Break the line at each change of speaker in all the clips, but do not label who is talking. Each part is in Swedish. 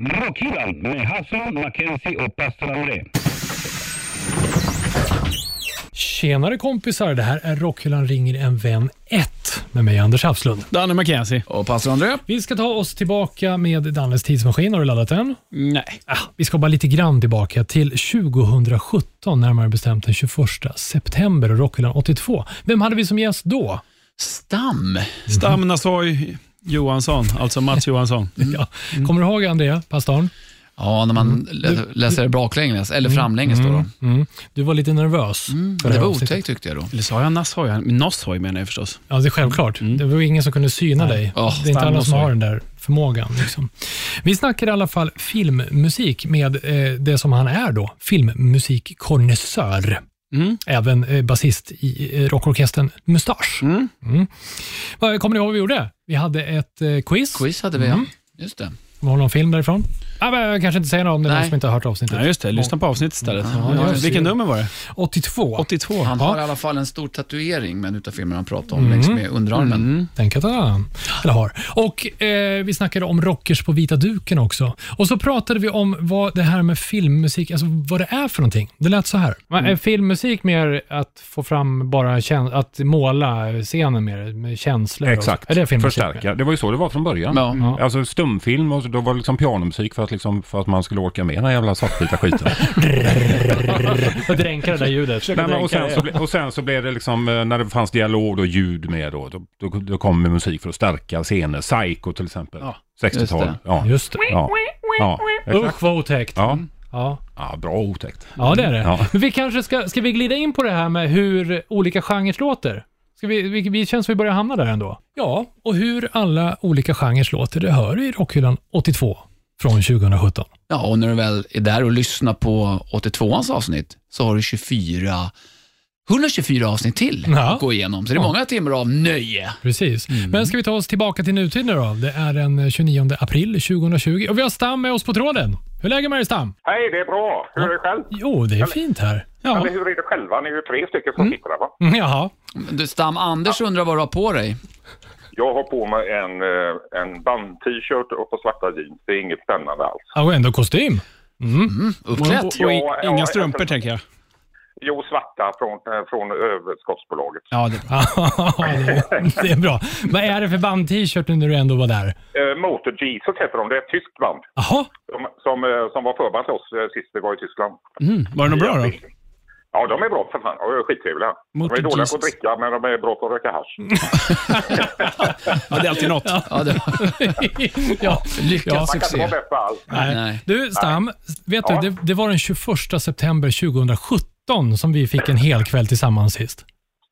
Rockhyllan med Hassan, Mackenzie och pastor André.
Tjenare kompisar, det här är Rockhyllan ringer en vän 1 med mig Anders Hafslund.
Danne Mackenzie.
Och pastor André?
Vi ska ta oss tillbaka med Dannes tidsmaskin. Har du laddat den?
Nej.
Ah, vi ska bara lite grann tillbaka till 2017, närmare bestämt den 21 september och Rockhyllan 82. Vem hade vi som gäst då?
Stam.
Stam Nasoy Johansson, alltså Mats Johansson.
Mm.
Ja. Kommer du ihåg Andrea, pastorn?
Ja, när man lä- läser det baklänges, eller framlänges då. då.
Mm. Du var lite nervös. för
Mm. Det
här
var
avsnittet.
otäckt tyckte jag då.
Eller sa jag Nasoy? Nasoy menar jag förstås.
Ja, det är självklart. Det var ju ingen som kunde syna dig.
Ja,
det är inte
stanna
alla
och
som
så.
har den där förmågan. Liksom. Vi snackar i alla fall filmmusik med eh, det som han är då, filmmusikkonnässör. Även eh, basist i eh, rockorkestern Mustasch. Mm. Vad- Kommer ni ihåg vad vi gjorde? Vi hade ett eh, quiz.
Quiz hade vi, ja. Just det.
Var det någon film därifrån? Ah, men jag kanske inte säger något om det, är någon
Nej.
som inte har hört avsnittet.
Ja, just det. Lyssna på avsnittet istället.
ja,
Ja,
just det.
Vilken nummer var det?
82.
82.
Han har i alla fall en stor tatuering med en utav filmerna han pratade om, längs med
Mm.
underarmen.
Tänk att han har. Eller har. Och, eh, vi snackade om rockers på vita duken också. Och så pratade vi om vad det här med filmmusik, alltså vad det är för någonting. Det lät så här. Är filmmusik mer att få fram bara käns- att måla scenen mer, med känslor? och så?
Exakt.
Är det filmmusik?
Förstärka. Det var ju så det var från början.
Ja.
Ja.
Alltså stumfilm och så- då var det liksom pianomusik för att, liksom, för att man skulle orka med den här jävla svartvita skiten.
Jag dränkar det där ljudet.
Nej, men, och, sen så ble, och sen så blev det liksom, eh, när det fanns dialog och ljud med då, då, då, då kom musik för att stärka scener. Psycho till exempel.
Ja,
60-tal.
just
Ja.
Just det.
Ja. ja, exakt.
Usch vad otäckt.
Ja.
Ja.
ja, bra otäckt.
ja, det är det.
Ja.
Men vi kanske ska, ska vi glida in på det här med hur olika genrer låter? Ska vi, vi, vi känns som vi börjar hamna där ändå. Ja, och hur alla olika genrer låter, det hör du i Rockhyllan 82 från 2017.
Ja, och när du väl är där och lyssnar på 82ans avsnitt så har du 24, 124 avsnitt till
Ja.
att gå igenom. Så det är många timmar av nöje.
Precis. Men ska vi ta oss tillbaka till nutid nu då? Det är den 29 april 2020 och vi har Stam med oss på tråden. Hur är läget med dig Stam?
Hej, det är bra. Hur är det själv?
Jo, det är fint här. Ja.
Eller hur är det själva? Ni är ju tre stycken som sitter där, va?
Mm, Jaha.
Men Du, Stam Anders undrar vad du har på dig.
Jag har på mig en, eh, en band-t-shirt och på svarta jeans. Det är inget spännande alls.
Ja, Och ändå kostym.
Uppklätt.
Och, och i,
Ja, ja,
inga
jag-
strumpor, tänker jag.
Jo, svarta från, eh, från överskottsbolaget.
Ja, det är bra.
Ja, det- det är bra. Vad är det för band-t-shirt nu när du ändå var där?
Eh, Motor Jesus heter de. Det är ett tyskt band
Jaha,
som, som, eh, som var förband till oss eh, sist vi var i Tyskland.
Var det något bra då?
Ja, de är bra för fan. Ja, de är skittrevliga.
Motor
de är dåliga på att
Jesus.
dricka, men de är bra på att röka hasch.
Mm.
Ja, det är alltid något.
Ja, det var
ja.
lyckad
Ja.
Man kan inte vara
succé.
bäst på allt.
Nej.
Nej.
Du, Stam, vet
Ja.
du, det, det var den 21 september 2017 som vi fick en hel kväll tillsammans sist.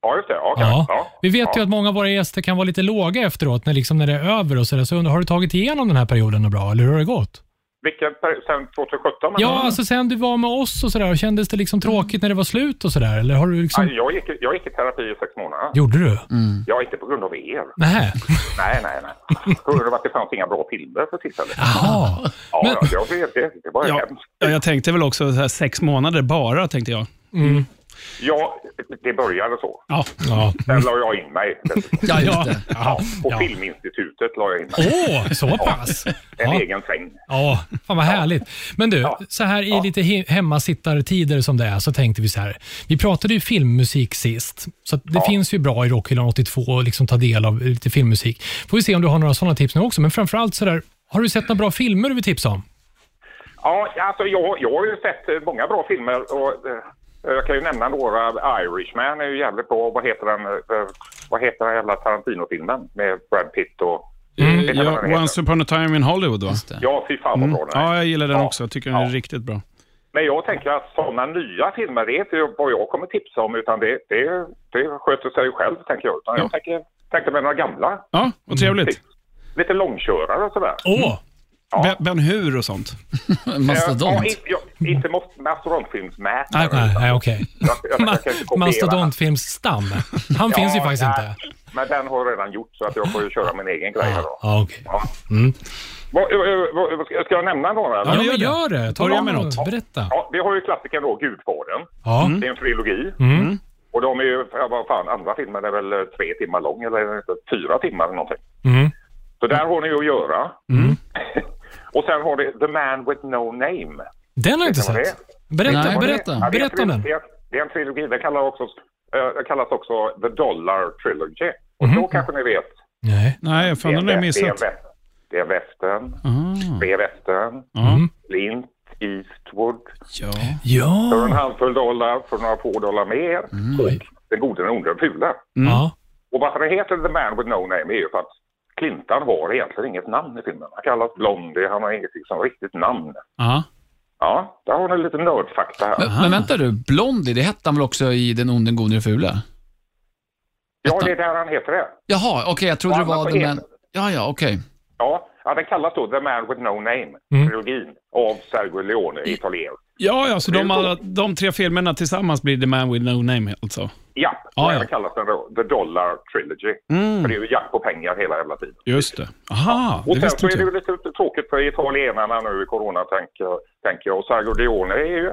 Ja, just det. Okej. Ja.
Vi vet ju att många av våra gäster kan vara lite låga efteråt, när, liksom när det är över och sådär. Så jag undrar, har du tagit igenom den här perioden då bra, eller hur har det gått?
Vilken per- sen 2017? men-
Ja, alltså sen du var med oss och sådär, kändes det liksom tråkigt när det var slut och sådär? Eller har du liksom...
Nej, jag, gick, i- jag gick i terapi i sex månader.
Gjorde du?
Jag är inte på grund av er.
Nähä.
Nej, nej, nej. På grund av att det fanns inga bra filmer för tillfället.
Jaha.
Ja,
Men-
ja, jag vet det. Det var
Ja,
hemskt.
ja, jag tänkte väl också så här, sex månader bara, tänkte jag.
Ja, det började så.
Ja.
Ja.
Mm.
Sen la jag in mig.
Ja, just det.
Ja.
På
Ja.
Filminstitutet la jag in mig.
Åh, så pass?
En
Ja.
egen säng.
Ja, fan vad härligt. Men du, så här i lite he- hemmasittartider som det är så tänkte vi så här. Vi pratade ju filmmusik sist, så att det finns ju bra i Rockhyllan 82 att liksom ta del av lite filmmusik. Får vi se om du har några sådana tips nu också, men framförallt så där, har du sett några bra filmer du vill tipsa om?
Ja, alltså jag, jag har ju sett eh, många bra filmer och eh, jag kan ju nämna några. Irishman är ju jävligt bra. Vad heter den, eh, vad heter den jävla Tarantino-filmen med Brad Pitt och... Det kan man
Eh, ja
väl heta.
Once upon a time in Hollywood, va?
Ja, fy fan vad bra den är.
Mm. Ja, jag gillar den
Mm. Ja.
också. Jag tycker den är riktigt bra.
Men jag tänker att sådana nya filmer, det är inte vad jag kommer tipsa om utan det, det, det sköter sig själv tänker jag. Utan
Ja.
jag tänker, tänkte med några gamla,
Ja, och trevligt.
lite långkörare och sådär.
Åh,
Be- Ben Hur och sånt.
Ja,
Mastodont.
inte jag, inte mos- mastodontfilmsmätare.
Nej,
nej, nej okej.
Jag- jag- jag kan inte kopiera.
Mastodontfilms-Stam, han finns ju faktiskt
nej,
inte.
Men den har jag redan gjort så att jag får ju köra min egen grej här då.
Ja, okej.
Ja. Vad- ö- ö- vad- ska- Ska jag nämna några? eller?
Ja,
men
men gör
gör
det. Ta
Börja
om
med
något.
något.
Berätta. Mm.
Ja, vi har ju klassikern då, Gudfadern.
Ja.
Det är en trilogi. Och de är ju, ja, vad fan, andra filmen är väl eh, tre timmar lång eller är det inte? fyra timmar eller någonting.
Mm.
Så där har ni ju att göra. Och sen har du The Man with No Name.
Den har jag inte
Vet ni vad
sett.
Nej,
Berätta,
vad det
berätta,
är?
Ja, det är en
berätta om den.
trilogi- Det är en trilogi. Den kallas också, eh, den kallas också The Dollar Trilogy. Och då kanske ni vet.
Nej.
Nej, fan den har jag missat.
vä- det är västern.
Ah,
Det är västern.
Mm.
Clint Eastwood.
ja.
För en
Ja.
handfull dollar, för några få dollar mer.
Oj.
Den gode, den onde, den fule.
Ja.
Och varför det heter The Man With No Name är ju för att Clintan har egentligen inget namn i filmen. Han kallas Blondie, han har inget liksom, riktigt namn.
Ah.
Ja, där har ni lite nördfakta här.
Men, men vänta du, Blondie, det hette han väl också i Den onde, den gode, den fule?
ja, det är där han heter det.
Jaha, okej, jag trodde
Ja,
det
men
var
vad
den
heter
men... Ja, ja, okej.
Ja, ja, den kallas då The Man With No Name,
Mm.
trilogin, av Sergio Leone, italiensk.
Ja, ja, så de, alla, de tre filmerna tillsammans blir The Man With No Name alltså?
Ja,
Ja,
och
ja.
även kallas den då The Dollar Trilogy. För det är ju jakt på pengar hela jävla tiden.
Just det. Aha,
Och
det
sen
visste
så är
inte
det ju
jag.
lite tråkigt för italienarna nu i corona, tänker jag. Tänker jag. Och Sergio Leone är ju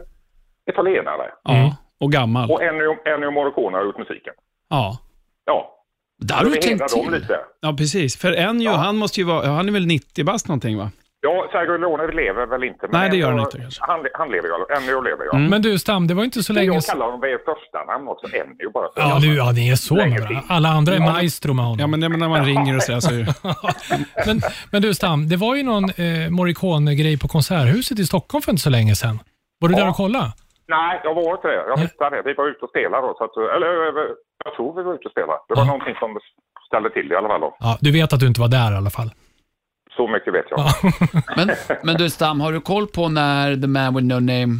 italienare.
Ja, och gammal.
Och Ennio, Ennio Morricone har gjort musiken.
Ja.
Ja,
Där har du
vi hedrar
tänkt
dem
till.
lite.
ja, precis. För en ju, han måste ju vara, ja, han är väl 90 bast någonting va?
Ja, Sergio Leone lever väl inte.
Nej, det gör han
ändå-
inte, kanske.
Han, han lever ju. Ennio lever ju.
Men du Stam, det var inte så länge
Jag
sedan.
kallar honom vid ert första namn också, Ennio bara. för-
Ja, du, ja, ni är så med varandra. Alla andra är maestro med honom.
Ja, men det- men när man ringer och sådär så är det...
Men, men du Stam, det var ju någon eh, Morricone-grej på Konserthuset i Stockholm för inte så länge sedan. Var du där och kollade?
Nej, jag var inte det. Jag missade det. Vi var ute och spelade då. Så att, eller eh, jag tror vi var ute och spelade. Det var
Ja.
någonting som ställde till det i alla fall. Då.
Ja, du vet att du inte var där i alla fall.
Så mycket vet jag.
Ja.
Men, men du Stam, har du koll på när The Man With No Name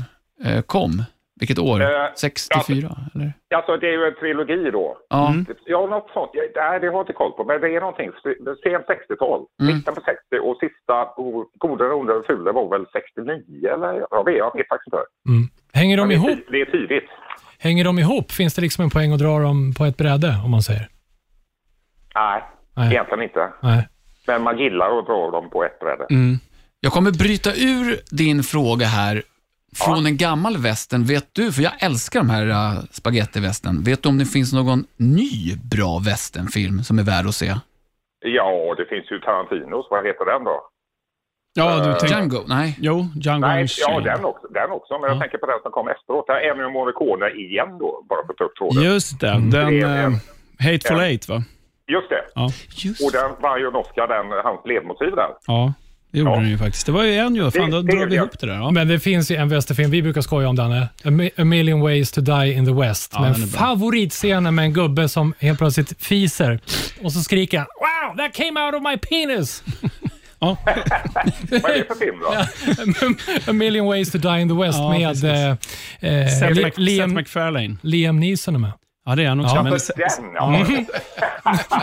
eh, kom? Vilket
Eh,
år? 64, eller?
Alltså det är ju en trilogi då.
Ja.
Ja, något sånt. Jag, nej, det har jag inte koll på. Men det är någonting. Sent 60-tal.
Mm.
Mitten på 60 och sista oh, Goda, onda och fula var väl 69 eller? Jag vet, jag vet faktiskt inte.
Mm. Hänger de
Men det, är
ihop?
tid- det är tidigt.
Hänger de ihop? Finns det liksom en poäng att dra dem på ett bräde, om man säger?
Nej,
Nej.
egentligen inte.
Nej.
Men man gillar att dra dem på ett bräde.
Jag kommer bryta ur din fråga här från en gammal västen. Vet du, för jag älskar de här äh, spagettivästen. Vet du om det finns någon ny bra västernfilm som är värd att se?
Ja, det finns ju Tarantinos. Vad heter den då?
Ja, du tänkte...
Django? Nej.
Jo, Django
Nej, ja,
Unchained.
den också, den också. Men jag tänker på den som kom efteråt. Där är ju Morricone igen då, bara för att ta upp tråden.
Just det, den...
Det är-
eh, Hateful
Ja.
Eight va?
Just det.
Just
Och den vann ju en Oscar, den, hans ledmotiv där.
Ja, det gjorde
Ja.
den ju faktiskt. Det var ju en ju. Fan,
Det-
då
det
drar
gjorde
vi
jag.
ihop det där. Ja.
Men det finns ju en västerfilm, vi brukar skoja om den, eh? A Mi- A million ways to die in the West. Men
den är bra.
favoritscenen med en gubbe som helt plötsligt fiser och så skriker han “Wow, that came out of my penis!”
Ja.
Vad är det för film då?
A million ways to die in the West
Ja,
med
precis.
eh, eh,
Seth,
Li-
Mac- Seth
Liam,
McFarlane.
Liam Neeson är med.
Ja, det är han också.
Ja.
men
För
se-
den, ja.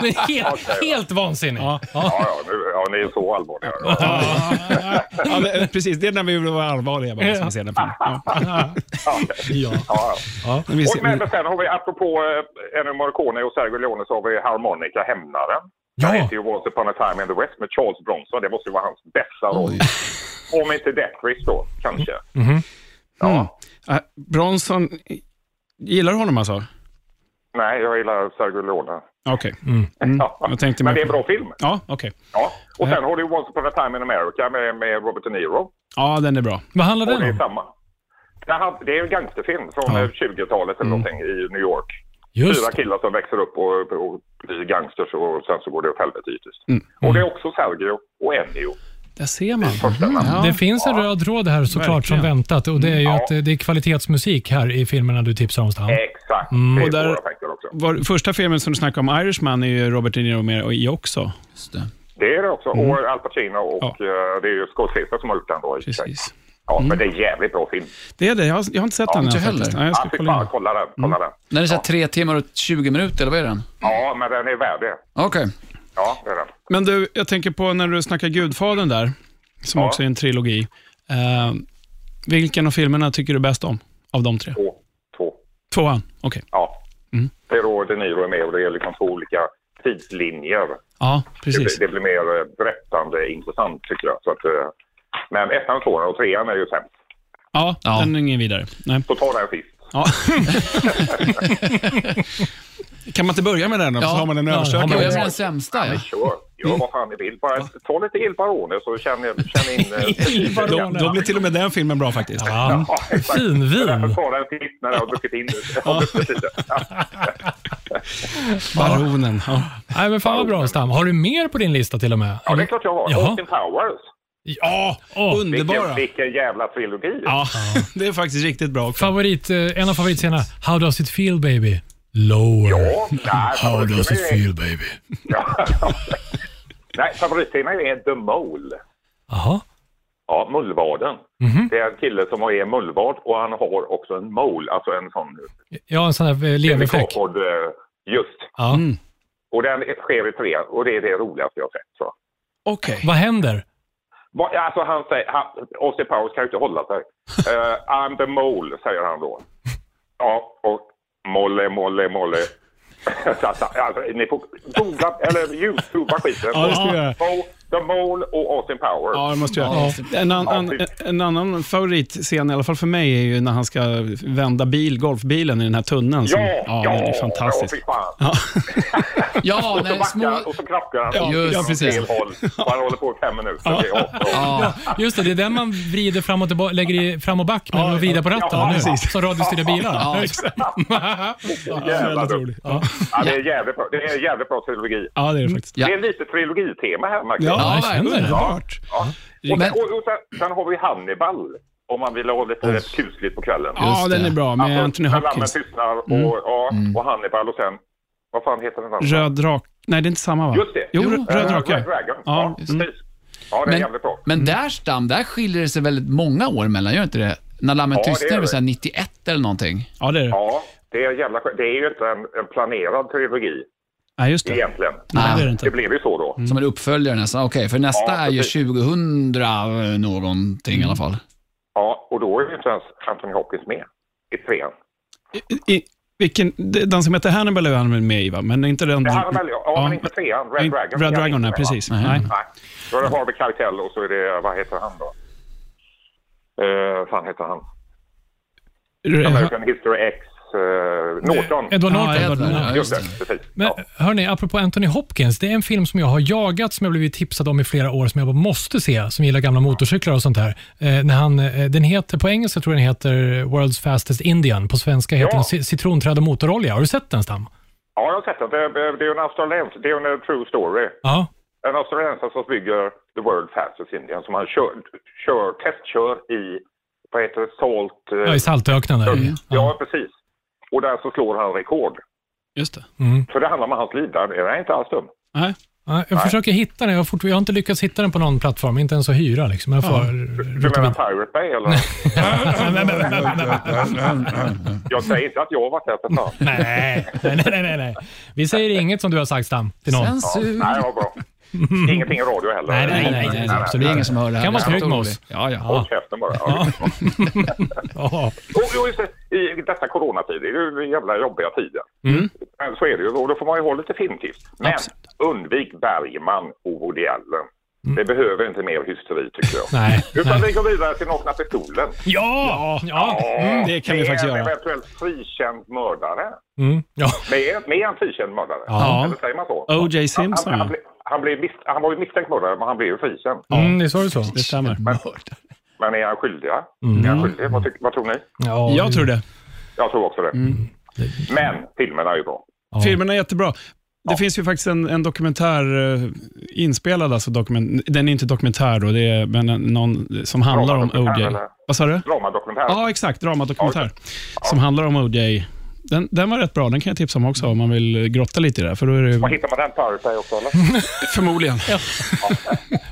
Det är helt, helt vansinnigt.
Ja.
Ja.
Ja, ja, nu, ja, ni är så allvarliga. Ja.
Ja, ja, ja, det- precis. Det är när vi vill vara allvarliga bara, som vi ser den filmen. Ja.
Ja.
Ja, men vi
Och, men,
ser, mm.
men sen har vi, apropå eh, Ennio Morricone och Sergio Leone, så har vi Harmonica Hämnaren.
Ja.
Den heter ju Once upon a time in the West med Charles Bronson. Det måste ju vara hans bästa roll. Om inte Death Wish då, kanske.
ja. Äh, Bronson, gillar du honom alltså?
Nej, jag gillar Sergio Leone.
Okej.
Ja.
jag tänkte
Men
mer
det är en
på-
bra film.
Ja, okej.
Ja. Och sen har du Once upon a time in America med, med Robert De Niro.
Ja, den är bra.
Vad handlar
Och det
den
är
om?
samma. Det här- Det är en gangsterfilm från
Ja.
eh, 20-talet eller någonting i New York.
Just
Fyra
det.
killar som växer upp och, och blir gangsters och sen så går det åt helvete ytterst. Och det är också Sergio och Ennio.
Där ser man.
Första namn.
Ja.
Det finns en röd tråd här såklart som
Verkligen.
väntat och det är ju
Ja.
att eh, det är kvalitetsmusik här i filmerna du tipsar om
Eh,
Stam.
Exakt. Det är
Och där-
där... våra tänker också.
Var, första filmen som du snackade om, Irishman, är ju Robert De Niro med i också.
det.
Det är det också. Och Al Pacino och eh, det är ju Scorsese som har gjort den då. i och för sig.
Precis.
Ja, men det är jävligt bra film.
Det är det. Jag har, jag har inte sett den
inte
än
heller.
faktiskt. Nej, jag
Ja,
ska
fy
kolla
fan,
in.
kolla den. Kolla den.
Den är så här tre timmar och 20 minuter, eller vad är den?
Ja, men den är värd det.
Okej.
Ja, det är den.
Men du, jag tänker på när du snackar Gudfadern där, som
Ja.
också är en trilogi. Eh, vilken av filmerna tycker du bäst om, av de tre?
Två. Två.
Tvåan? Okej.
Ja.
Mm.
Det är då De Niro är med och det är liksom två olika tidslinjer.
Ja,
Det, blir-
precis.
det blir mer eh, berättande intressant tycker jag. Så att, eh, men ettan, tvåan och trean är ju sämst.
Ja,
Ja.
den är ingen vidare. Nej.
Så ta den sist.
Ja. kan man inte börja med den då, så
Ja.
har man en
har
översökare?
man-
Jag är den sämsta, ja.
Kör. Ja, vad fan ni vill. Bara ta lite Il Barone så känner, känner in... eh,
Då, då blir till och med den filmen bra faktiskt.
Ja.
Ja, exakt.
Finvin.
Jag får ta en titt när jag har druckit in det. Ja, precis. Ja.
Baronen. Ja.
Nej, men fan vad bra Stam. Har du mer på din lista till och med?
ja, det är klart jag har.
Jaha.
Austin Powers.
Ja! Åh,
Underbara.
Vilken, vilken jävla trilogi.
Ja, det är faktiskt riktigt bra också.
favorit, eh, en av favoritscenerna. How does it feel baby? Lower.
Ja, nej,
How does
favoriterna
it
är,
feel baby?
nej, favoriterna är The Mole.
Jaha.
Ja, mullvaden.
Mhm.
Det är en kille som är mullvad och han har också en mole, alltså en sån
Ja, en sån här eh, leverfläck.
kemikaliepod. Just.
Ja.
Mm.
Och den sker i tre och det är det roligaste jag har sett. Så.
Okej.
Vad händer?
Va- Alltså han säger, han, Austin Powers kan ju inte hålla sig. Eh, I'm the mole, säger han då. Ja, och molle, molle, molle. Så att- alltså, ni får googla, eller youtuba skiten.
Ja, det ska vi göra.
Mo- The Mole och Austin Powers.
Ja, det måste jag göra. En, an, an, en annan favoritscen, i alla fall för mig, är ju när han ska vända bil, golfbilen i den här tunneln. Som,
Ja, ja,
den är fantastisk.
Ja, fy fan.
Ja.
Ja,
Och så
när det är
backar
små...
och så krockar han.
Ja,
just
åt
precis.
fel håll. Och han håller på i fem minuter. Det är också-
Ja,
Just det, det är den man vrider fram och tillbaka, lägger i fram och back, men
Ja,
man vrider på ratten.
ja,
nu,
precis.
Som radiostyrda bilar.
Ja,
exakt.
Jävlar
Väldigt
du.
rolig. Ja.
Ja, det är jävligt bra. Det är en jävligt bra trilogi.
ja, det är det faktiskt.
Ja.
Det är lite trilogitema här, Max.
Ja,
jag känner det.
underbart.
Och,
Men-
sen, och, och sen, sen har vi Hannibal, om man vill ha lite kusligt på kvällen. Alltså,
Ja,
det.
den är bra med Anthony
när lammen
Hopkins.
tystnar och, ja,
Mm.
och Hannibal och sen, vad fan heter den andra?
Röd drake. Nej, det är inte samma va?
Just det.
Jo,
Eh,
Röd drake.
Red Dragon.
Ja,
Ja,
mm.
precis. Ja, det är
Men,
jävligt bra.
men där, Stam, där skiljer det sig väldigt många år mellan, gör det inte det? När Lammen
Ja, det
tystnar
gör
är det
det.
så här 91 eller någonting.
Ja, det är det.
Ja, det är jävla skönt. Det är ju inte en, en planerad trilogi
Nej, just det.
egentligen.
Nej, det är det
Det
inte.
blev ju så då.
Som en uppföljare nästan. Okej, för nästa
Ja,
är ju
precis.
2000 någonting i alla fall.
Ja, och då är ju inte ens Anthony Hopkins med i trean.
I, i, vilken, den som heter Hannibal är han med i va? Men inte den...
Det här väl, ja, ja, men inte
Red
trean. Red Dragon.
Red
kan
Dragon,
inte
nej,
det, va?
precis.
Nej.
Nej.
Nej. Då är det Harvey Keitel och så är det, vad heter han då? Eh, fan heter han? American History X. Eh, Norton.
Eh, Edward
Ja,
Norton.
Edward Norton.
Ja,
Just
just det.
det, precis.
Men
Ja.
hörni, apropå Anthony Hopkins. Det är en film som jag har jagat, som jag blivit tipsad om i flera år, som jag bara måste se, som gillar gamla motorcyklar och sånt där. Eh, när han, eh, den heter, på engelska tror jag den heter World's Fastest Indian. På svenska heter
Ja.
den Ci- Citronträd och motorolja. Har du sett den Stam?
ja, jag har sett det. Det är, det är ju en australiens, det är ju en eh, true story.
Ja.
En australiensare som bygger The World Fastest Indian som han kör, kör, testkör i, vad heter det, Salt... eh,
ja I Saltöknen där.
Salt.
Ja.
Ja, precis. Och där så slår han rekord.
Just det.
Så det handlar om hans liv där. Det är inte alls dum.
Nej.
Ja, jag försöker hitta den. Jag har, fort, jag har inte lyckats hitta den på någon plattform, inte ens att hyra. Liksom. Jag får
Du menar Pirate Bay eller? jag säger inte att jag har varit där för fan.
nej, nej, nej, nej, nej. Vi säger inget som du har sagt Stam, till någon.
Censur.
Nej, vad bra. Ingenting i radio heller.
Mm. Nej, nej, nej, nej, nej,
Det
absolut.
är ingen som hör det här.
Kan vara
Jag är
trygg med
orolig.
oss.
Ja, ja.
Håll käften bara. Ja.
Ja.
Och, och just det, I dessa coronatider, det är ju jävla jobbiga tider.
Mm.
Men Så är det ju, och då får man ju ha lite filmtips. Men undvik Bergman och Woody Allen. Det behöver inte mer hysteri tycker jag.
Mm. Nej,
Utan vi går vidare till Nakna Pistolen.
Ja! ja.
Mm, det kan vi faktiskt
är en
göra.
eventuellt frikänd mördare.
Mm. ja.
Med, med en frikänd mördare.
Ja.
Eller säger man så?
O.J. Simpson,
Han, han,
ja.
han, blev- han, blev misst- han var ju misstänkt mördare, men han blev ju frikänd.
Mm, det sa du så.
Det stämmer.
Men är han skyldig? va?
Mm.
Är han skyldig? Vad, tyck, vad tror ni?
Ja,
Jag tror det.
Jag tror också det.
Mm.
Men filmerna är ju bra.
Filmen är jättebra. Det finns ju faktiskt en, en dokumentär eh, inspelad, alltså dokument, den är inte dokumentär då, det är, men en- någon som handlar om
Dramadokumentär,
O.J.
eller?
Vad sa du?
Dramadokumentär.
Ja, exakt. Dramadokumentär. Som handlar om O.J. Den, den var rätt bra, den kan jag tipsa om också om man vill grotta lite i det. här, För då är
Var
det
hittar man den? Pirate Bay också eller?
förmodligen.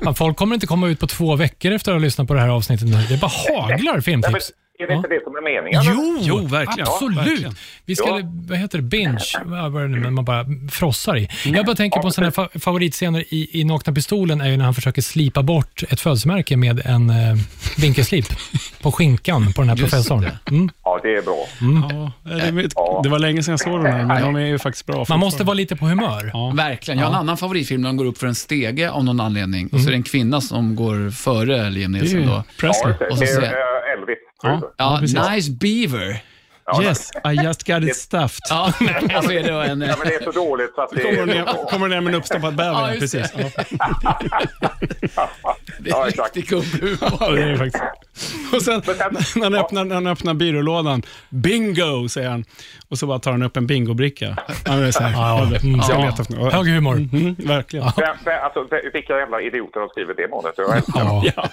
Fan, Folk kommer inte komma ut på två veckor efter att ha lyssnat på det här avsnittet. nu. Det bara haglar
Nej, men,
filmtips.
är det inte det som är meningen?
Jo,
Jo, verkligen.
absolut.
Ja, verkligen.
Vi ska,
Ja.
vad heter det, binge, Vad var det nu? Men man bara frossar i. Jag bara tänker på en sån här fa- favoritscener i, i Nakna Pistolen är ju när han försöker slipa bort ett födelsemärke med en eh, vinkelslip på skinkan på den här professorn. Mm.
Ja, det är bra.
Ja, det, är- det var länge sedan jag såg den här, men de är ju faktiskt bra.
Man måste vara lite på humör.
Verkligen. Jag har en annan favoritfilm där de går upp för en stege av någon anledning och så är
Mhm.
det en kvinna som går före Liam
Det är
Neeson
ju
då.
Ja,
Presley.
just det.
Och så
det är
ser
eh, Elvis.
Ja.
Ja,
precis.
Nice Beaver.
Ja,
Yes, I just got it stuffed.
Ja, men alltså är det en...
Ja, men det är så dåligt så att det...
Kommer hon ner- kommer hon ner med en uppstoppad bäver?
Ja, just det.
precis. Ja.
Det
Ja,
är
exakt.
riktig gubbhumor.
Ja, det är det faktiskt. Och sen
sen-
när han öppnar, när han öppnar byrålådan, bingo, säger han. Och så bara tar han upp en bingobricka. Han är så här,
Ja, ja.
"Mm, ska jag
Ja.
leta efter något?"
Hög humor.
Mm, verkligen.
Vem, vem, alltså, vilka jävla idioter har skrivit det målet? Jag älskar dem.
Ja.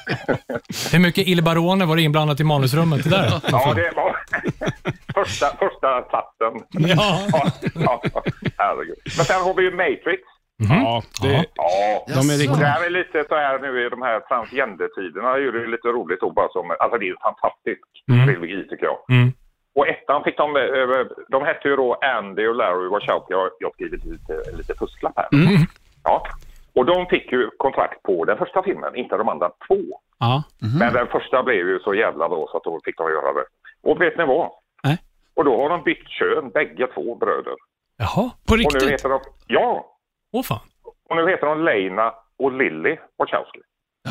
Hur mycket Il Barone var det inblandat i manusrummet? Det där?
Ja, det var första, första satsen.
Ja.
Ja, ja, herregud. Men sen har vi ju Matrix.
Ja, det,
Ja.
de är
Jaså.
Det
riktigt...
här är lite så här nu i de här transgendertiderna. Det är ju lite roligt då bara som, alltså det är ju fantastisk trilogi tycker jag.
Mm.
Och ettan fick de, eh, de hette ju då Andy och Larry Wachowski. Jag jag har skrivit lite, lite fusklapp här.
Mm.
Ja. Och de fick ju kontrakt på den första filmen, inte de andra två.
Ja.
Men den första blev ju så jävla bra så att då fick de göra det. Och vet ni vad?
Nej.
Och då har de bytt kön, bägge två bröder.
Jaha.
På
Och nu
riktigt?
heter de, ja,
Åh fan.
och nu heter de Leina och Lilly Wachowski.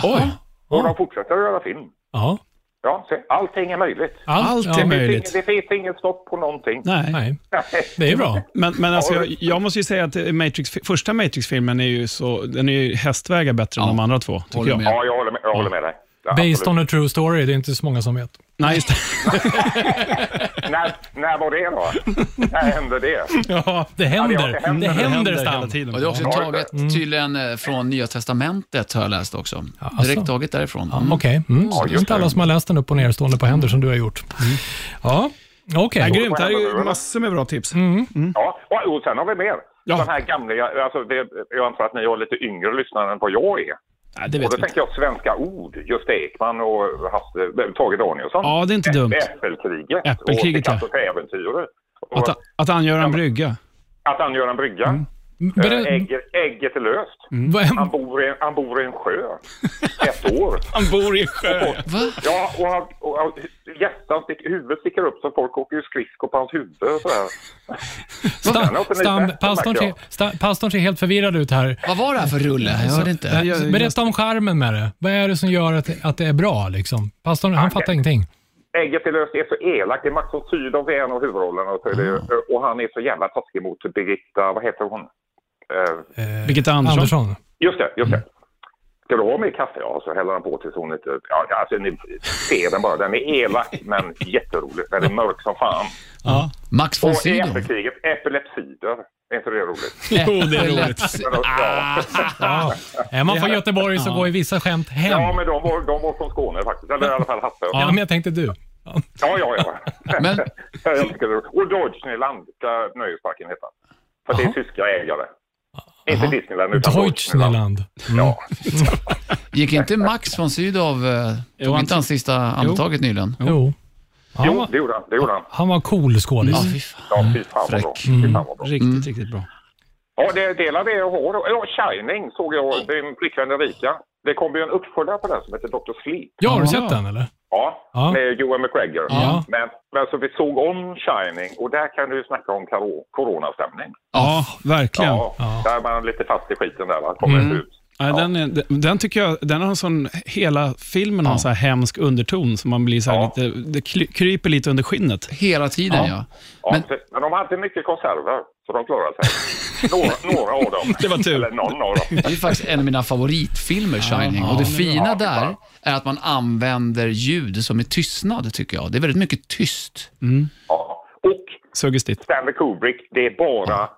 Oj,
Och
Ja.
de fortsätter att göra film.
Ja.
Ja, så allting är möjligt.
allt är
ja.
möjligt.
Det finns inget stopp på någonting.
Nej.
Nej, det är bra.
Men, men alltså, jag, jag måste ju säga att Matrix, första Matrix-filmen är ju så, den är ju hästvägar bättre än de andra två, tycker
Håller
jag.
med.
Ja, jag håller med, jag håller med dig. Ja,
Based
absolut.
on a true story, det är inte så många som vet.
Nej, just det.
När, när var det då? när hände det?
Ja,
Det
Ja,
händer.
det händer.
Det händer,
hela
Stan.
tiden.
Och det är också
Ja.
taget tydligen eh, från Nya Testamentet, har jag läst också.
alltså.
Direkt taget därifrån. Mm.
Okej, mm. så det är
just
inte alla
det.
som har läst den upp och nerstående på händer som du har gjort. Ja, okej.
Ja, grymt, det här är
Mm.
ju massor med bra tips.
Ja, och, och sen har vi mer.
Ja.
De här gamla, alltså det, jag antar att ni har lite yngre lyssnare än vad jag är.
Ja, det vet
Och då
vi inte.
tänker jag svenska ord, Gösta Ekman och Hasse, eh, Tage Danielsson.
Ja, det är inte dumt.
Äppelkriget.
Äppelkriget,
och Picasso ja. äventyret. Och
Att, att han gör en brygga.
att han gör en brygga.
Mm.
Eh,
Berä-
Ägget, ägget är löst. Han,
vad-
bor i, han bor i en sjö. Ett år.
Han bor i en sjö.
Va?
Ja, och, han, och, och hjärtan, stick, huvudet sticker upp så folk åker ju skridskor på hans huvud. och sådär.
Stan,
åker ni
Stan,
väster,
pastorn,
märker
ser,
jag.
Stan- pastorn ser helt förvirrad ut här.
Vad var det här för rulle? Jag hörde
Ja,
inte.
ja, ja.
Berätta om charmen med det. Vad är det som gör att det, att det är bra? Liksom? Pastorn, han fattar ingenting.
Ägget är löst är så elak. Det är Max von Sydow i en av huvudrollerna. Och, så är
Ah.
det, och han är så jävla taskig mot Birgitta, vad heter hon? Eh,
Birgitta Andersson.
Andersson.
Just det, just det. Ska du ha mer kaffe? Ja, så häller han på tills hon inte... Ja, alltså ni ser den bara. Den är elak men jätterolig. Den är mörk som fan.
Ja.
Max von
Och i
Sydow?
äppelkriget, äppellepsider. Är inte det roligt?
Jo, det är roligt.
Äppellätt-
Men, ja.
Ja. Är man från Göteborg så
Ja.
går ju vissa skämt hem.
ja, men de var, de var från Skåne faktiskt. Eller i alla fall Hasse.
Ja,
Ja,
men jag tänkte du. Ja.
ja, ja.
Men-
Jag tycker det är roligt. Och Deutschland ska nöjesparken heta. För det är tyska ägare. Inte Disneyland utan Deutschland.
Deutschland.
Ja.
Gick inte Max von Sydow, eh, tog
han-
inte han sista andetaget nyligen?
Jo. Han
Jo,
var,
det gjorde han. Det gjorde han.
han var cool skådis.
Ja, fy fan.
Ja, fy fan vad bra. Fy fan vad bra.
Riktigt, riktigt bra.
Ja, det är delar det jag har. Ja, Shining såg jag. Din flickvän Erika. Det kom ju en uppföljare på den som heter Dr. Sleep.
Ja, har du
Ja.
sett den eller?
Ja,
Ja.
med Johan McGregor.
Ja.
Men, men så vi såg om Shining och där kan du ju snacka om karo- coronastämning.
Ja, verkligen.
Ja,
Ja.
Där är man lite fast i skiten där va. Kommer inte ut.
Nej, Den, är, den- den tycker jag, den har en sån, hela filmen har en sån här hemsk underton som man blir så här
Ja.
lite, det kly- kryper lite under skinnet.
Hela tiden ja.
Ja,
Men-
men... men de hade mycket konserver så de klarade sig. några, några av dem.
Det var tur.
Eller någon av dem.
Det är faktiskt en av mina favoritfilmer, Shining. och det fina där är att man använder ljud som är tystnad, tycker jag. Det är väldigt mycket tyst.
Ja. Och
Suggestivt.
Stanley Kubrick, det är bara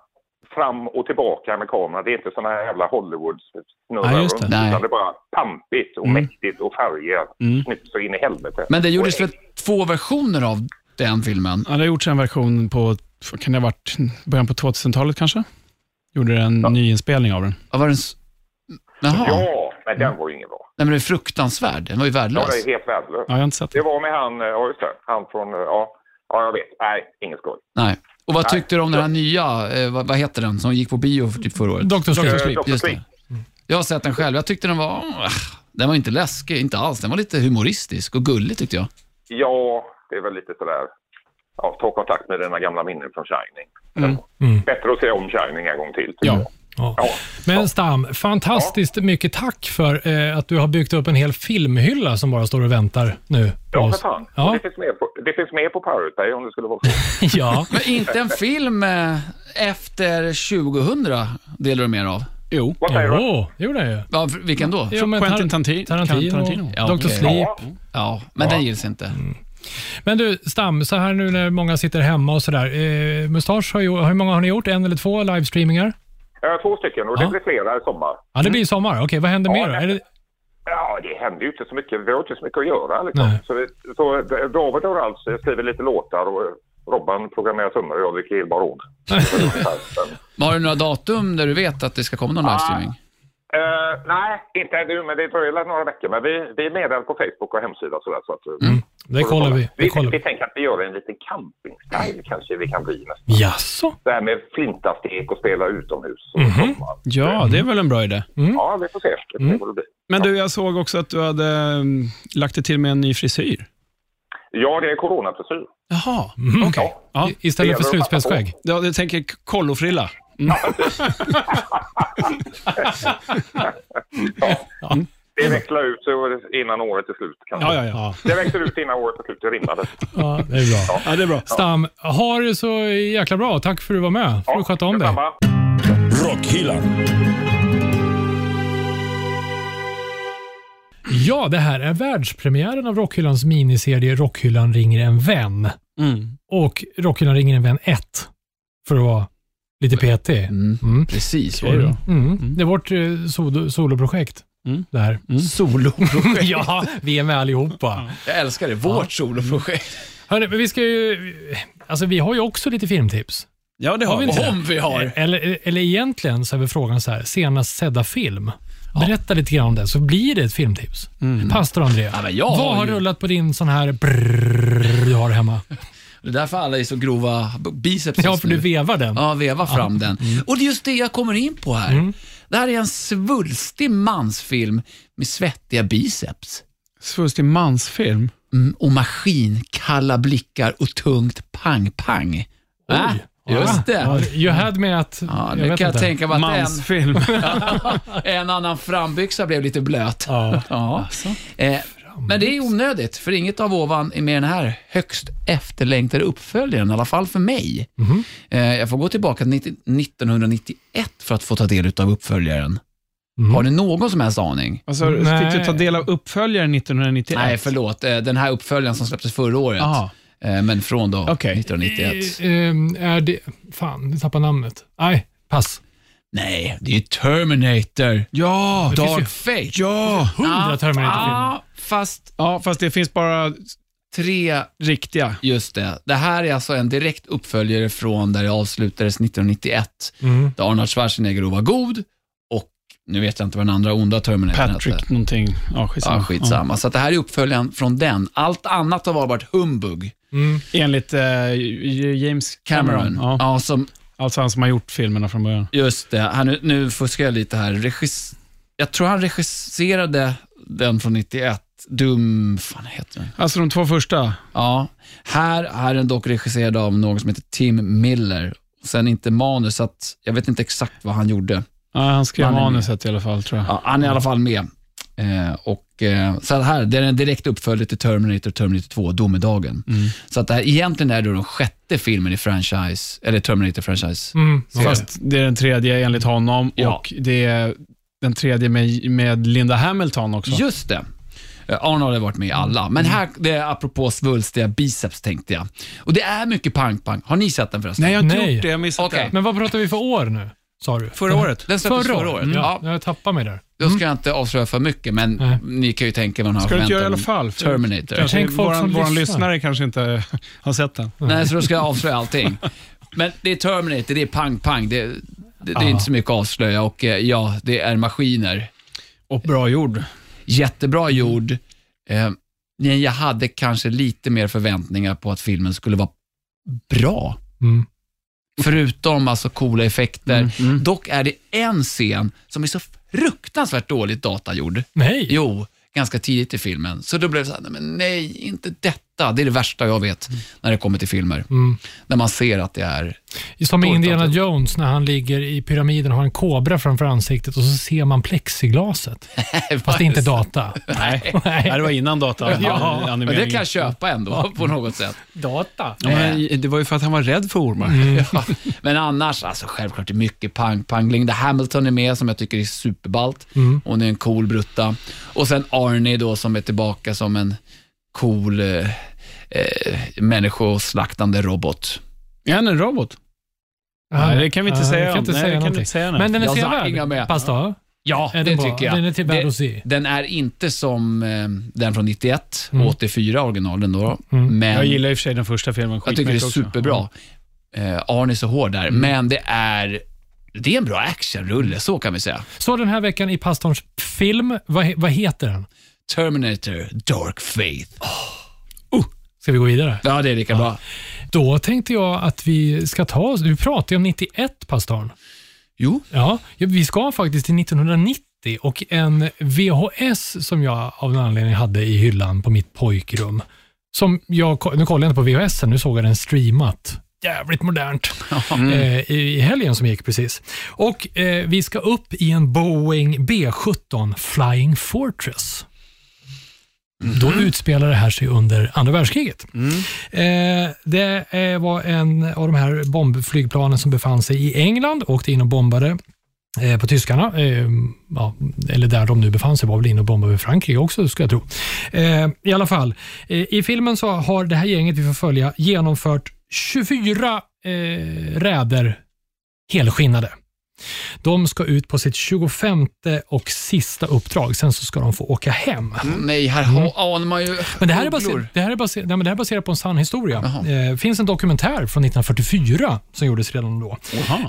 fram och tillbaka med kameran. Det är inte såna här jävla Hollywood-snurrar
Ja, just
runt.
det. Mm.
Nej.
Utan det är bara pampigt och mäktigt och färger. Snyggt så in i helvete.
Men det gjordes
Och-
väl två versioner av den filmen?
Ja, det har gjorts en version på, kan det ha varit början på 2000-talet kanske? Gjorde en nyinspelning av den.
Ja, Var den... s- Jaha.
Ja, men den var ju ingen bra.
Nej, men det är fruktansvärd. Den var ju
Ja,
värdelös.
det är helt värdelös.
Ja, jag har inte sett
Det
den.
var med han, eh, ja just det, han från, eh, ja, ja jag vet. Nej, ingen skoj.
Nej. Och vad tyckte du om den här nya, eh, vad, vad heter den, som gick på bio för typ förra året?
Dr.
Eh,
Sleep.
Dr.
just det.
Sleep.
Jag har sett den själv. Jag tyckte den var... ah, Den var inte läskig, inte alls. Den var lite humoristisk och gullig tyckte jag.
Ja, det är väl lite sådär.
Mm.
Ja, ta kontakt med dina gamla minnen från Shining. Bättre att se om Shining en gång till. tycker
Mm. Ja,
jag.
Ja. Men Stam, fantastiskt mycket tack för eh, att du har byggt upp en hel filmhylla som bara står och väntar nu på
Ja, för
oss.
fan. Och
Ja,
Det, finns med på, det finns med på Pirate om det skulle vara så.
ja.
Men inte en film eh, efter 2000 delar du mer av?
Jo.
Vad säger du?
Jo, det gjorde jag ju.
Ja, för- vilken då?
Jo, men
Quentin
Tar-
Tanti-
Tarantino,
Tarantino.
Ja,
Dr.
okej.
Sleep.
Ja.
Ja, men den gills inte.
Men du, Stam, så här nu när många sitter hemma och sådär. Eh, Mustasch, har, ju- hur många har ni gjort? En eller två livestreamingar?
Eh, Två stycken och det
Ja.
blir flera i sommar.
Ja, det blir sommar. Okej, vad händer
Ja,
mer då?
det-
Är det,
Ja, det händer ju inte så mycket. Vi har inte så mycket att göra. Liksom.
Nej.
Så, vi- så David och Ralf skriver lite låtar och Robban programmerar trummor och jag dricker helbar råd.
Men Har du några datum där du vet att det ska komma någon livestreaming?
Eh, nej, inte nu, men det dröjer väl några veckor. Men vi, vi är meddelade på Facebook och hemsida och sådär. Så att, eh,
Mm, det kollar vi. Det
Vi,
kollar
vi
vi.
tänker att vi gör en liten campingstyle kanske vi kan bli nästan.
Jaså?
Det här med flintastek och spela utomhus. Och
Mhm,
sommar.
Ja, det är väl en bra idé.
mm.
Ja, vi får se. Vi får se vad det blir.
Men du, jag såg också att du hade mm, lagt dig till med en ny frisyr.
Ja, det är coronaprecis.
Jaha, okej.
I- Istället för
Det gäller att passa på.
slutspelsskägg?
Ja, jag tänker k- kollofrilla.
Det växlar ut sig och- innan året är slut. Kanske.
Ja, ja, ja.
Det växer ut innan året är slut. Det rimmade.
Ja, det är bra.
Ja, det är bra.
Stam, ha det så jäkla bra. Tack för att du var med. Får du sköta om dig.
detsamma.
Rockhyllan.
Ja, det här är världspremiären av Rockhyllans miniserie Rockhyllan ringer en vän.
Mm.
Och Rockhyllan ringer en vän 1, för att vara lite petig.
Mm.
Mm.
Precis.
Mm. Mm. Det är vårt eh, sol- soloprojekt.
Mm.
Det här.
Soloprojekt.
Ja, vi är med allihopa.
Jag älskar det. Vårt soloprojekt.
Hörrni, men vi ska ju... Alltså, vi har ju också lite filmtips.
Ja, det har vi inte.
Om vi har.
Eller, eller egentligen så är väl frågan så här, senast sedda film. Berätta lite grann om det, så blir det ett filmtips. Pastor André,
Mm. Ja, men jag
vad
har
har
ju-
rullat på din sån här brrrr du har hemma?
Det är därför alla är så grova b- biceps
Ja,
just
för du Mm.
nu.
vevar den.
Ja, veva fram den. Och det är just det jag kommer in på här.
Mm.
Det här är en svulstig mansfilm med svettiga biceps.
Svulstig mansfilm.
Mm, och maskinkalla blickar och tungt pang-pang. Va? Just det.
Ja,
Ja,
you had me att...
nu kan jag tänka mig att en,
Mansfilm.
en annan frambyxa blev lite blöt.
Ja.
Ja.
Alltså,
Eh, men det är onödigt, för inget av ovan är med den här högst efterlängtade uppföljaren, i alla fall för mig.
Mhm.
Eh, jag får gå tillbaka till 90 1991 för att få ta del av uppföljaren.
Mm.
Har ni någon som helst aning?
Alltså,
Nej.
fick du ta del av uppföljaren 1991?
Nej, förlåt. Eh, den här uppföljaren som släpptes förra året,
Aha.
eh, men från då
Okej.
1991.
Ehm, är det... Fan, jag tappade namnet. Nej, pass.
Nej, det är ju Terminator.
Ja!
finns ju-
Dark Fate.
Ja!
Hundra Terminator-filmer.
Ja, fast
Ja, fast det finns bara
tre
riktiga.
Just det. Det här är alltså en direkt uppföljare från där det avslutades 1991.
Mm.
Där Arnold Schwarzenegger då var god och nu vet jag inte vad den andra onda Terminatorn hette.
Patrick någonting. Ja, skitsamma.
Ja, skitsamma. Så att det här är uppföljaren från den. Allt annat har varit humbug.
Mm.
Ja. Enligt eh, James Cameron.
Cameron.
Ja.
Ja, som,
Alltså han som har gjort filmerna från början.
just det. Han, nu fuskar jag lite här. Regis, jag tror han regisserade den från 91. Dum... fan heter den?
Alltså de två första.
Ja, här är den dock regisserad av någon som heter Tim Miller. Sen inte manus, så att jag vet inte exakt vad han gjorde.
Ja, han skrev
Han är med.
manuset i alla fall tror jag.
Ja, han är i alla fall med. Eh, och, eh, så här, det är en direkt uppföljare till Terminator, Terminator 2, Domedagen.
Mm.
Så att det här, egentligen är det den sjätte filmen i franchise, eller Terminator-franchise.
Mm.
Fast det är den tredje enligt honom
Ja.
och det är den tredje med, med Linda Hamilton också.
Just det. Eh, Arnold har varit med i alla, men
Mm.
här, det är apropå svulstiga biceps tänkte jag. Och det är mycket pang-pang. Har ni sett den förresten?
Nej, jag har inte
Nej.
gjort det. Jag har missat
Okej.
det.
Men vad pratar vi för år nu, sa du?
Förra året.
Den släpptes förra året.
Mm.
Ja.
Ja. Jag tappar mig där.
Då ska jag inte avslöja för mycket, men
Nej.
ni kan ju tänka vad man
Mm.
har
Ska du inte göra i alla
förväntat
fall?
om
För
Terminator.
Kanske
Tänk folk
våran,
som
våran
lyssnar.
lyssnare kanske inte har sett den.
Nej, så då ska jag avslöja allting. Men det är Terminator, det är pang-pang. Det, det, det
Ah.
är inte så mycket att avslöja och eh, ja, det är maskiner.
Och bra gjord.
Jättebra gjord. Eh, men jag hade kanske lite mer förväntningar på att filmen skulle vara bra.
Mm.
Förutom alltså coola effekter.
Mm,
Dock är det en scen som är så fruktansvärt dåligt datagjord.
Nej.
Jo, ganska tidigt i filmen. Så då blev det så här, nej, men nej, inte detta hetta. Det är det värsta jag vet
Mm.
när det kommer till filmer. När man ser att det är...
Som i
Dåligt
Indiana
alltid.
Jones när han ligger i pyramiden och har en kobra framför ansiktet och så ser man plexiglaset. Fast det är inte data.
Nej. Nej, det var innan data.
Ja, men det
animeringen.
kan jag köpa ändå på något sätt. Eh. Mm.
Data?
Ja, men det var ju för att han var rädd för ormar.
Ja, Men annars, alltså självklart, det är mycket pang, pangling. Det Hamilton är med, som jag tycker är superballt. Hon är en cool brutta. Och sen Arnie då, som är tillbaka som en cool eh, eh, människoslaktande robot.
Är han en robot? Nej, det kan vi inte
Mm. Ja,
säga
jag
om.
kan inte
Nej,
säga
det kan vi
någonting.
inte säga.
Men den är
Jag sa inga
sevärd.
med.
Pasta?
Ja,
Är
det
den bra?
tycker jag.
Den är till värd
Det-
att se.
Den är inte som eh, den från 91,
Mm.
84 originalen då. Men
jag gillar i och för sig den första filmen.
jag tycker det är
skitmycket också.
superbra.
Mm.
Eh, Arne är så hård där, men det är, det är en bra actionrulle, så kan vi säga.
Så den här veckan i pastorns film, vad, he- vad heter den?
Terminator, Dark Faith.
Ah. Ska vi gå vidare?
Ja, det är lika
Ah.
bra.
Då tänkte jag att vi ska ta oss... Du pratade ju om 91, pastorn.
Jo,
Ja, ja, vi ska faktiskt till 1990 och en VHS som jag av någon anledning hade i hyllan på mitt pojkrum. Som jag, nu kollar jag inte på VHS, nu såg jag den streamat. Jävligt modernt. Eh, I i helgen som gick precis. Och eh, vi ska upp i en Boeing B17 Flying Fortress. Då utspelar det här sig under andra världskriget. Eh, det eh, var en av de här bombflygplanen som befann sig i England, åkte in och bombade eh, på tyskarna, eh, ja, eller där de nu befann sig, var väl inne och bombade i Frankrike också, skulle jag tro. Eh, I alla fall, eh, i filmen så har det här gänget vi får följa genomfört 24 eh, räder helskinnade. De ska ut på sitt 25 och sista uppdrag, sen så ska de få åka hem.
nej, här har- anar man ju
Mm. Men det här, är
ugglor.
baser, det, här är baser, nej, men det här är baserat på en sann historia.
Jaha.
Det eh, finns en dokumentär från 1944 som gjordes redan då.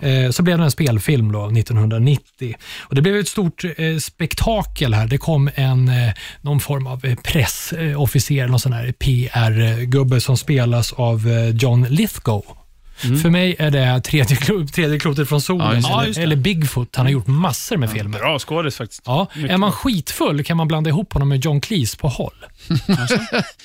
Eh, så blev det en spelfilm då, 1990. Och det blev ett stort eh, spektakel här. Det kom en, eh, någon form av eh, pressofficer, någon sån här PR-gubbe som spelas av eh, John Lithgow. För mig är det tredje, klo- tredje klotet från
Mm.
solen,
Ja, just det.
eller, eller Bigfoot. Han har gjort massor med filmer.
Bra skådis faktiskt.
Ja, är man skitfull kan man blanda ihop honom med John Cleese på håll.
Mm.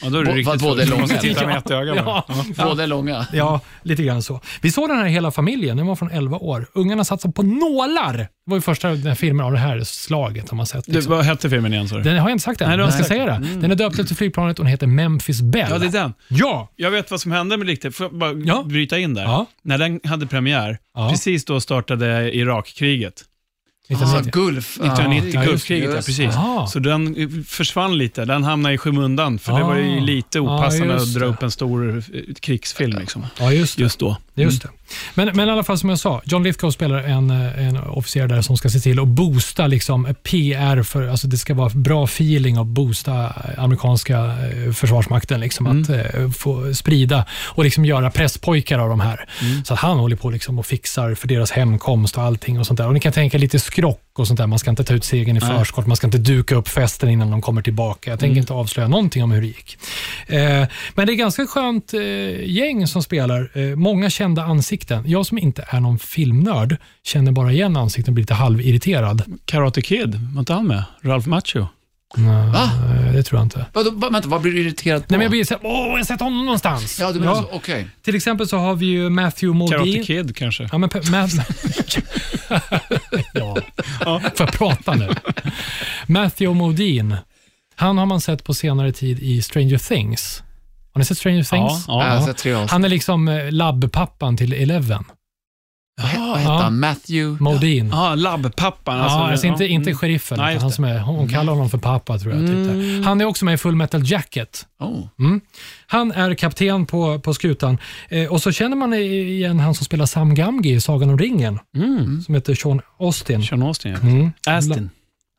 Ja, då är det
Bo- vad
riktigt
både
full.
långa-
Man ska titta med ett öga bara.
Ja.
Båda är långa.
Ja, lite grann så. Vi såg den här hela familjen, den var från 11 år. Ungarna satsade på nålar. Det var ju första den här filmen av det här slaget har man sett.
Du,
Liksom.
vad hette filmen igen sa du?
Den har jag inte sagt än,
Nej,
men
du har
jag ska
inte Mm.
säga det. Den är döpt efter flygplanet och den heter Memphis Bell.
Ja, det är den.
Ja!
Jag vet vad som hände med riktigt. Får jag bara
Ja.
bryta in där?
Ja.
När den hade premiär,
Ja.
precis då startade Irakkriget.
Ah,
1990.
Gulf. Ja.
1990,
ja, just-
Gulfkriget, ja,
just.
precis.
Aha.
Så den eh, försvann lite. Den hamnade i skymundan, för det var ju
Ah.
lite
Ja,
opassande
just
att dra
det.
upp en stor eh, krigsfilm liksom.
Ja, just det.
just då.
Just det. Men, men i alla fall som jag sa, John Lithgow spelar en, eh, en officer där som ska se till att boosta liksom PR, för, alltså det ska vara bra feeling och boosta amerikanska eh, försvarsmakten, liksom,
Mm.
att eh, få sprida och liksom göra presspojkar av de här.
Mm.
Så att han håller på liksom och fixar för deras hemkomst och allting och sånt där. Och ni kan tänka lite skrock och sånt där, man ska inte ta ut segern i förskott, man ska inte duka upp festen innan de kommer tillbaka. Jag tänker
Mm.
inte avslöja någonting om hur det gick. Eh, men det är ganska skönt eh, gäng som spelar. Eh, många kända ansikten. Jag som inte är någon filmnörd känner bara igen ansikten och blir lite halvirriterad.
Karate Kid, var inte han med? Ralph Macchio?
Va?
Eh, det tror jag inte.
Vadå, va- vänta, vad blir du irriterad på?
Nej, men jag blir såhär, åh, jag har sett honom någonstans.
Ja, du menar så. Okej.
Till exempel så har vi ju Matthew
Karate
Modine.
Kid kanske?
Ja, men, pe- ma- ja. Får jag prata nu? Matthew Modine. Han har man sett på senare tid i Stranger Things. Har ni sett Stranger Things?
Ja,
Jag har
ja.
sett tre avsnitt.
Han är liksom eh, labbpappan till Eleven.
Vad he- Vad hette
Ja.
han? Matthew?
Modin. Ja.
Ah, labbpappan. Alltså,
ja, alltså
ja,
inte, inte
mm.
sheriffen,
Nej,
utan
just
han
det. Mm.
som är, hon kallar honom för pappa tror jag. Typ där. Han är också med i Full Metal Jacket.
Oh.
Han är kapten på, på skutan eh, och så känner man i- igen han som spelar Sam Gamgee i Sagan om ringen,
Mm.
som heter Sean Austin.
Sean Austin, ja.
Mm.
Astin.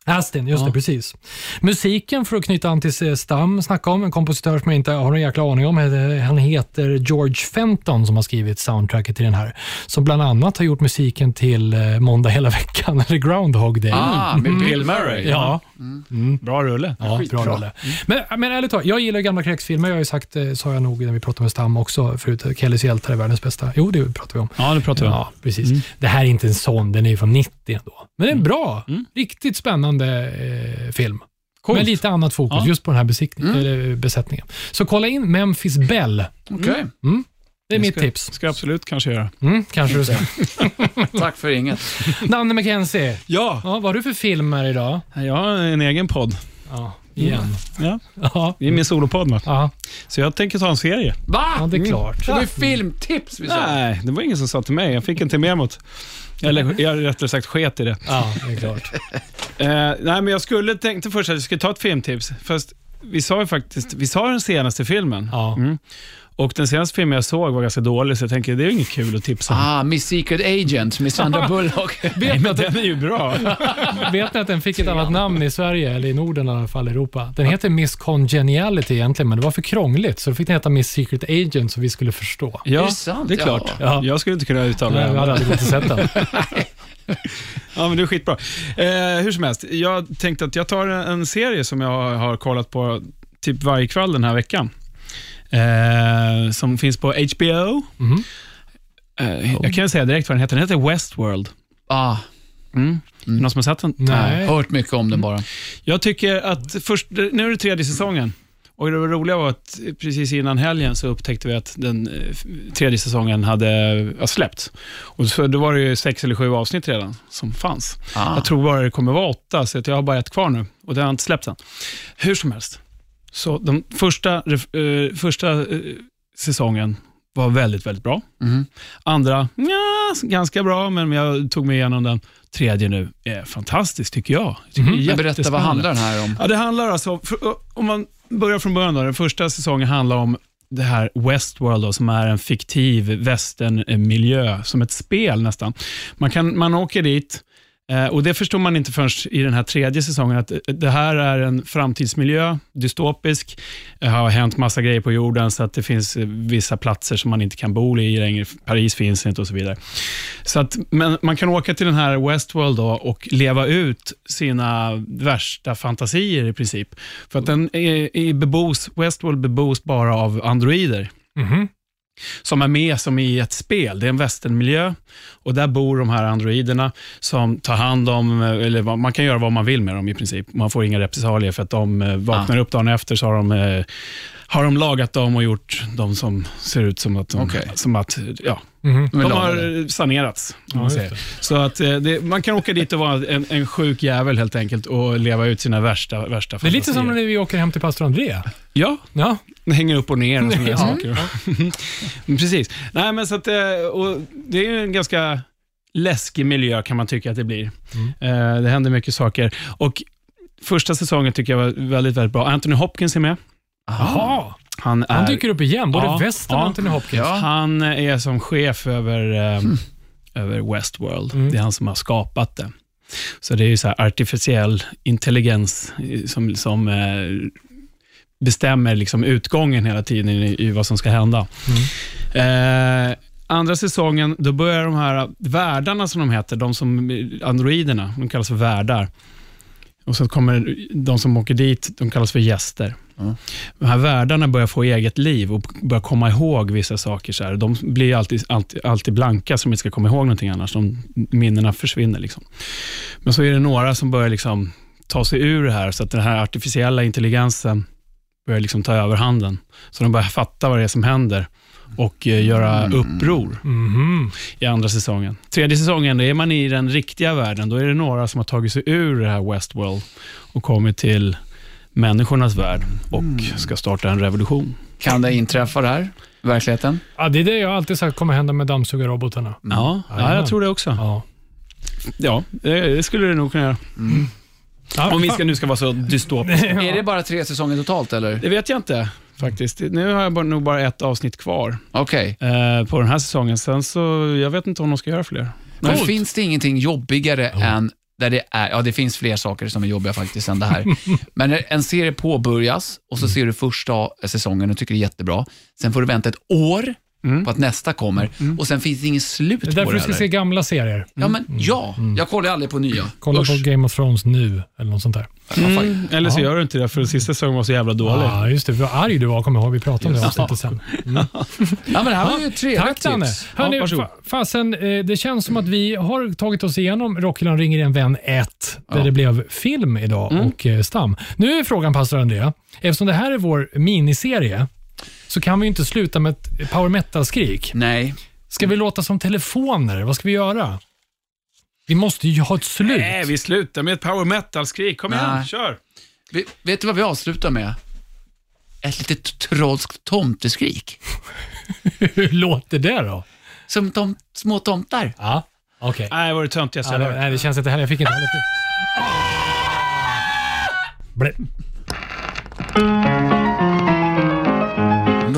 Astin, just det, precis. Musiken, för att knyta an till eh, Stam, snacka om, en kompositör som jag inte har någon jäkla aning om. eh, Han heter George Fenton som har skrivit soundtracket till den här. Som bland annat har gjort musiken till eh, Måndag hela veckan, eller Groundhog Day.
Ah, med Bill
Mm.
Murray.
Ja,
Bra rulle.
Mm. ja bra rolle. Men, men ärligt talat, jag gillar ju gamla krigsfilmer. Jag har ju sagt, eh, sa jag nog när vi pratade med Stam också förut, att Kellys hjältar är världens bästa. Jo, det pratar vi om. Mm.
Ja, det pratar vi om.
Ja, precis. Det här är inte en Mm. sån, den är ju från 90 ändå. Men den är bra. Riktigt spännande eh, film. Mm. Med lite annat fokus
Ja.
just på den här besikt- eller eh, besättningen. Så kolla in Memphis Bell.
Okej,
Det är mitt
Mm. ska,
tips.
Ska jag absolut kanske göra.
Mm, kanske du ska.
tack för inget.
Nanne McKenzie,
Ja,
ja, vad har du för filmer idag?
jag har en egen podd.
Ja, igen.
Ja,
Mm. Ja,
det är min solopodd. va?
ja,
Mm. Så jag tänker ta en serie.
ja,
Va?
det är klart.
Det var ju filmtips vi sa.
Nej, det var ingen som sa till mig. Jag fick inte med mot. Eller jag rättare sagt sket i det.
Ja, det är klart.
Eh, nej, men jag skulle tänkte först att jag skulle ta ett filmtips. Fast vi sa ju faktiskt, vi sa den senaste filmen.
Ja.
Och den senaste filmen jag såg var ganska dålig, så jag tänker det är ju inget kul att tipsa om.
Ah, Miss Secret Agent med Sandra Bullock.
Nej, men den är ju bra.
Vet ni att den fick ett annat namn i Sverige, eller i Norden i alla fall, Europa? Den heter Miss Congeniality egentligen, men det var för krångligt, så då fick den heta Miss Secret Agent så vi skulle förstå.
Ja,
Är det sant?
det är klart.
Ja.
Jag skulle inte kunna uttala
Nej, vi hade
det.
aldrig gått och sett den. Mhm,
Ja, men det är skitbra. Eh, hur som helst, jag tänkte att jag tar en serie som jag har kollat på typ varje kväll den här veckan. Eh, som finns på HBO.
Mhm.
Eh, jag kan ju säga direkt vad den heter. Den heter Westworld.
Ah,
Är det Någon som har sett den?
Mm. Nej.
hört mycket om den bara.
Jag tycker att först, nu är det tredje säsongen. Och det roliga var att precis innan helgen så upptäckte vi att den eh, f- tredje säsongen hade eh, släppts. Och så, då var det ju sex eller sju avsnitt redan som fanns.
Ah.
Jag tror bara det kommer vara åtta, så att jag har bara ett kvar nu. Och det har jag inte släppt än. Hur som helst. Så den första, ref- eh, första eh, säsongen var väldigt, väldigt bra.
Mhm.
Andra, ja, ganska bra, men jag tog mig igenom den. Tredje nu är fantastisk, tycker jag. Jag Tycker det är
Mm-hmm. Men berätta, vad
jättespännande.
handlar den här om?
Ja, det handlar alltså om, för, om man börjar från början då, den första säsongen handlar om det här Westworld då, som är en fiktiv västernmiljö, som ett spel nästan. Man, kan, man åker dit eh, och det förstår man inte förrän i den här tredje säsongen, att eh, det här är en framtidsmiljö, dystopisk. Det har hänt massa grejer på jorden, så att det finns eh, vissa platser som man inte kan bo i längre. Paris finns inte och så vidare. Så att, men man kan åka till den här Westworld då och leva ut sina värsta fantasier i princip. För att den är, är bebos, Westworld bebos bara av androider
Mhm.
som är med som i ett spel. Det är en västernmiljö och där bor de här androiderna som tar hand om, eh, eller vad- man kan göra vad man vill med dem i princip. Man får inga repressalier för att de eh,
Ah.
vaknar upp dagen efter så har de, eh, har de lagat dem och gjort de som ser ut som att de,
Okej.
som att, eh, ja,
Mhm.
De är
de
lagade.
har sanerats. om man
Ja,
säger.
just
Så att, eh, det, man kan åka dit och vara en, en sjuk jävel helt enkelt och leva ut sina värsta, värsta
Det är lite
fantasier.
som när vi åker hem till pastor André.
Ja,
Ja,
den hänger upp och ner och sådana
Ja. Mm.
saker. Men Precis. Nej, men så att, eh, och det är ju en ganska läskig miljö kan man tycka att det blir.
Mm.
Eh, Det händer mycket saker. Och Första säsongen tycker jag var väldigt, väldigt bra. Anthony Hopkins är med.
Jaha.
Han är...
han dyker upp igen. Både
Ja,
Western
ja.
och Anthony Hopkins.
Ja.
Han är som chef över, eh, över Westworld. Det är han som har skapat det. Så det är ju så här artificiell intelligens eh, som, som eh, bestämmer liksom utgången hela tiden i, i vad som ska hända. Eh, andra säsongen, då börjar de här värdarna som de heter, de som androiderna, de kallas för värdar. Och så kommer de som åker dit, de kallas för gäster. De här världarna börjar få eget liv och börjar komma ihåg vissa saker. Så här. De blir alltid, alltid, alltid blanka, som inte ska komma ihåg någonting annars. De, minnena försvinner. Liksom. Men så är det några som börjar liksom ta sig ur det här, så att den här artificiella intelligensen börjar liksom ta över handen. Så de börjar fatta vad det är som händer och eh, göra uppror
Mhm.
i andra säsongen. Tredje säsongen, då är man i den riktiga världen. Då är det några som har tagit sig ur det här Westworld och kommit till människornas värld och ska starta en revolution.
Kan det inträffa det här? i Verkligheten?
Ja, det är det jag alltid sagt kommer hända med dammsugarrobotarna.
Ja, ja,
Jajamän.
jag tror det också.
Ja.
Ja, det det skulle det nog kunna göra.
Ja,
Mm. Om vi
fan.
ska, nu ska vara så dystopiska.
Är det bara tre säsonger totalt eller?
Det vet jag inte faktiskt. Nu har jag bara, nog bara ett avsnitt kvar
Okej.
eh, på den här säsongen. Sen så, jag vet inte om de ska göra fler.
Men finns det ingenting jobbigare
Oh.
än där det är, ja det finns fler saker som är jobbiga faktiskt än det här. Men när en
Mm.
serie påbörjas och så ser du första säsongen och tycker det är jättebra. Sen får du vänta ett år på att nästa kommer. Och sen finns det ingen slut
Mm. Det är
på
därför
det
du ska
heller.
se gamla serier.
Ja, men ja. Jag kollar ju aldrig på nya.
Kolla
Usch.
på Game of Thrones nu, eller något sånt där.
Mm, eller så gör du inte det, för den sista säsongen var så jävla dålig.
Ja, ah, just det. Vad arg du var, kommer jag ihåg. Vi pratade om det avsnittet sen.
Ja, men det här var ju ett trevligt
Tack Danne.
tips.
Hörni,
Ja, varsågod.
fa- fasen, eh, det känns som att vi har tagit oss igenom Rockyland ringer en vän 1, där det blev film idag
Mm.
och eh, stam. Nu är frågan, pastor Andrea, eftersom det här är vår miniserie, så kan vi ju inte sluta med ett power metal-skrik.
Nej,
Ska vi låta som telefoner? Vad ska vi göra? Vi måste ju ha ett slut.
Nej, vi slutar med ett power metal-skrik. Kom igen,
Nej.
kör!
Vi, vet du vad vi avslutar med? Ett litet trollskt tomteskrik.
Hur låter det då?
Som tom, små tomtar.
Ja, okej.
Nej, det var det töntigaste
Ja,
jag
det,
hört.
nej, det känns inte heller. Jag fick inte heller till.
Ah!
Blä.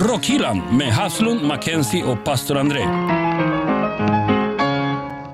Rockhyllan med Haslund, Mackenzie och pastor André.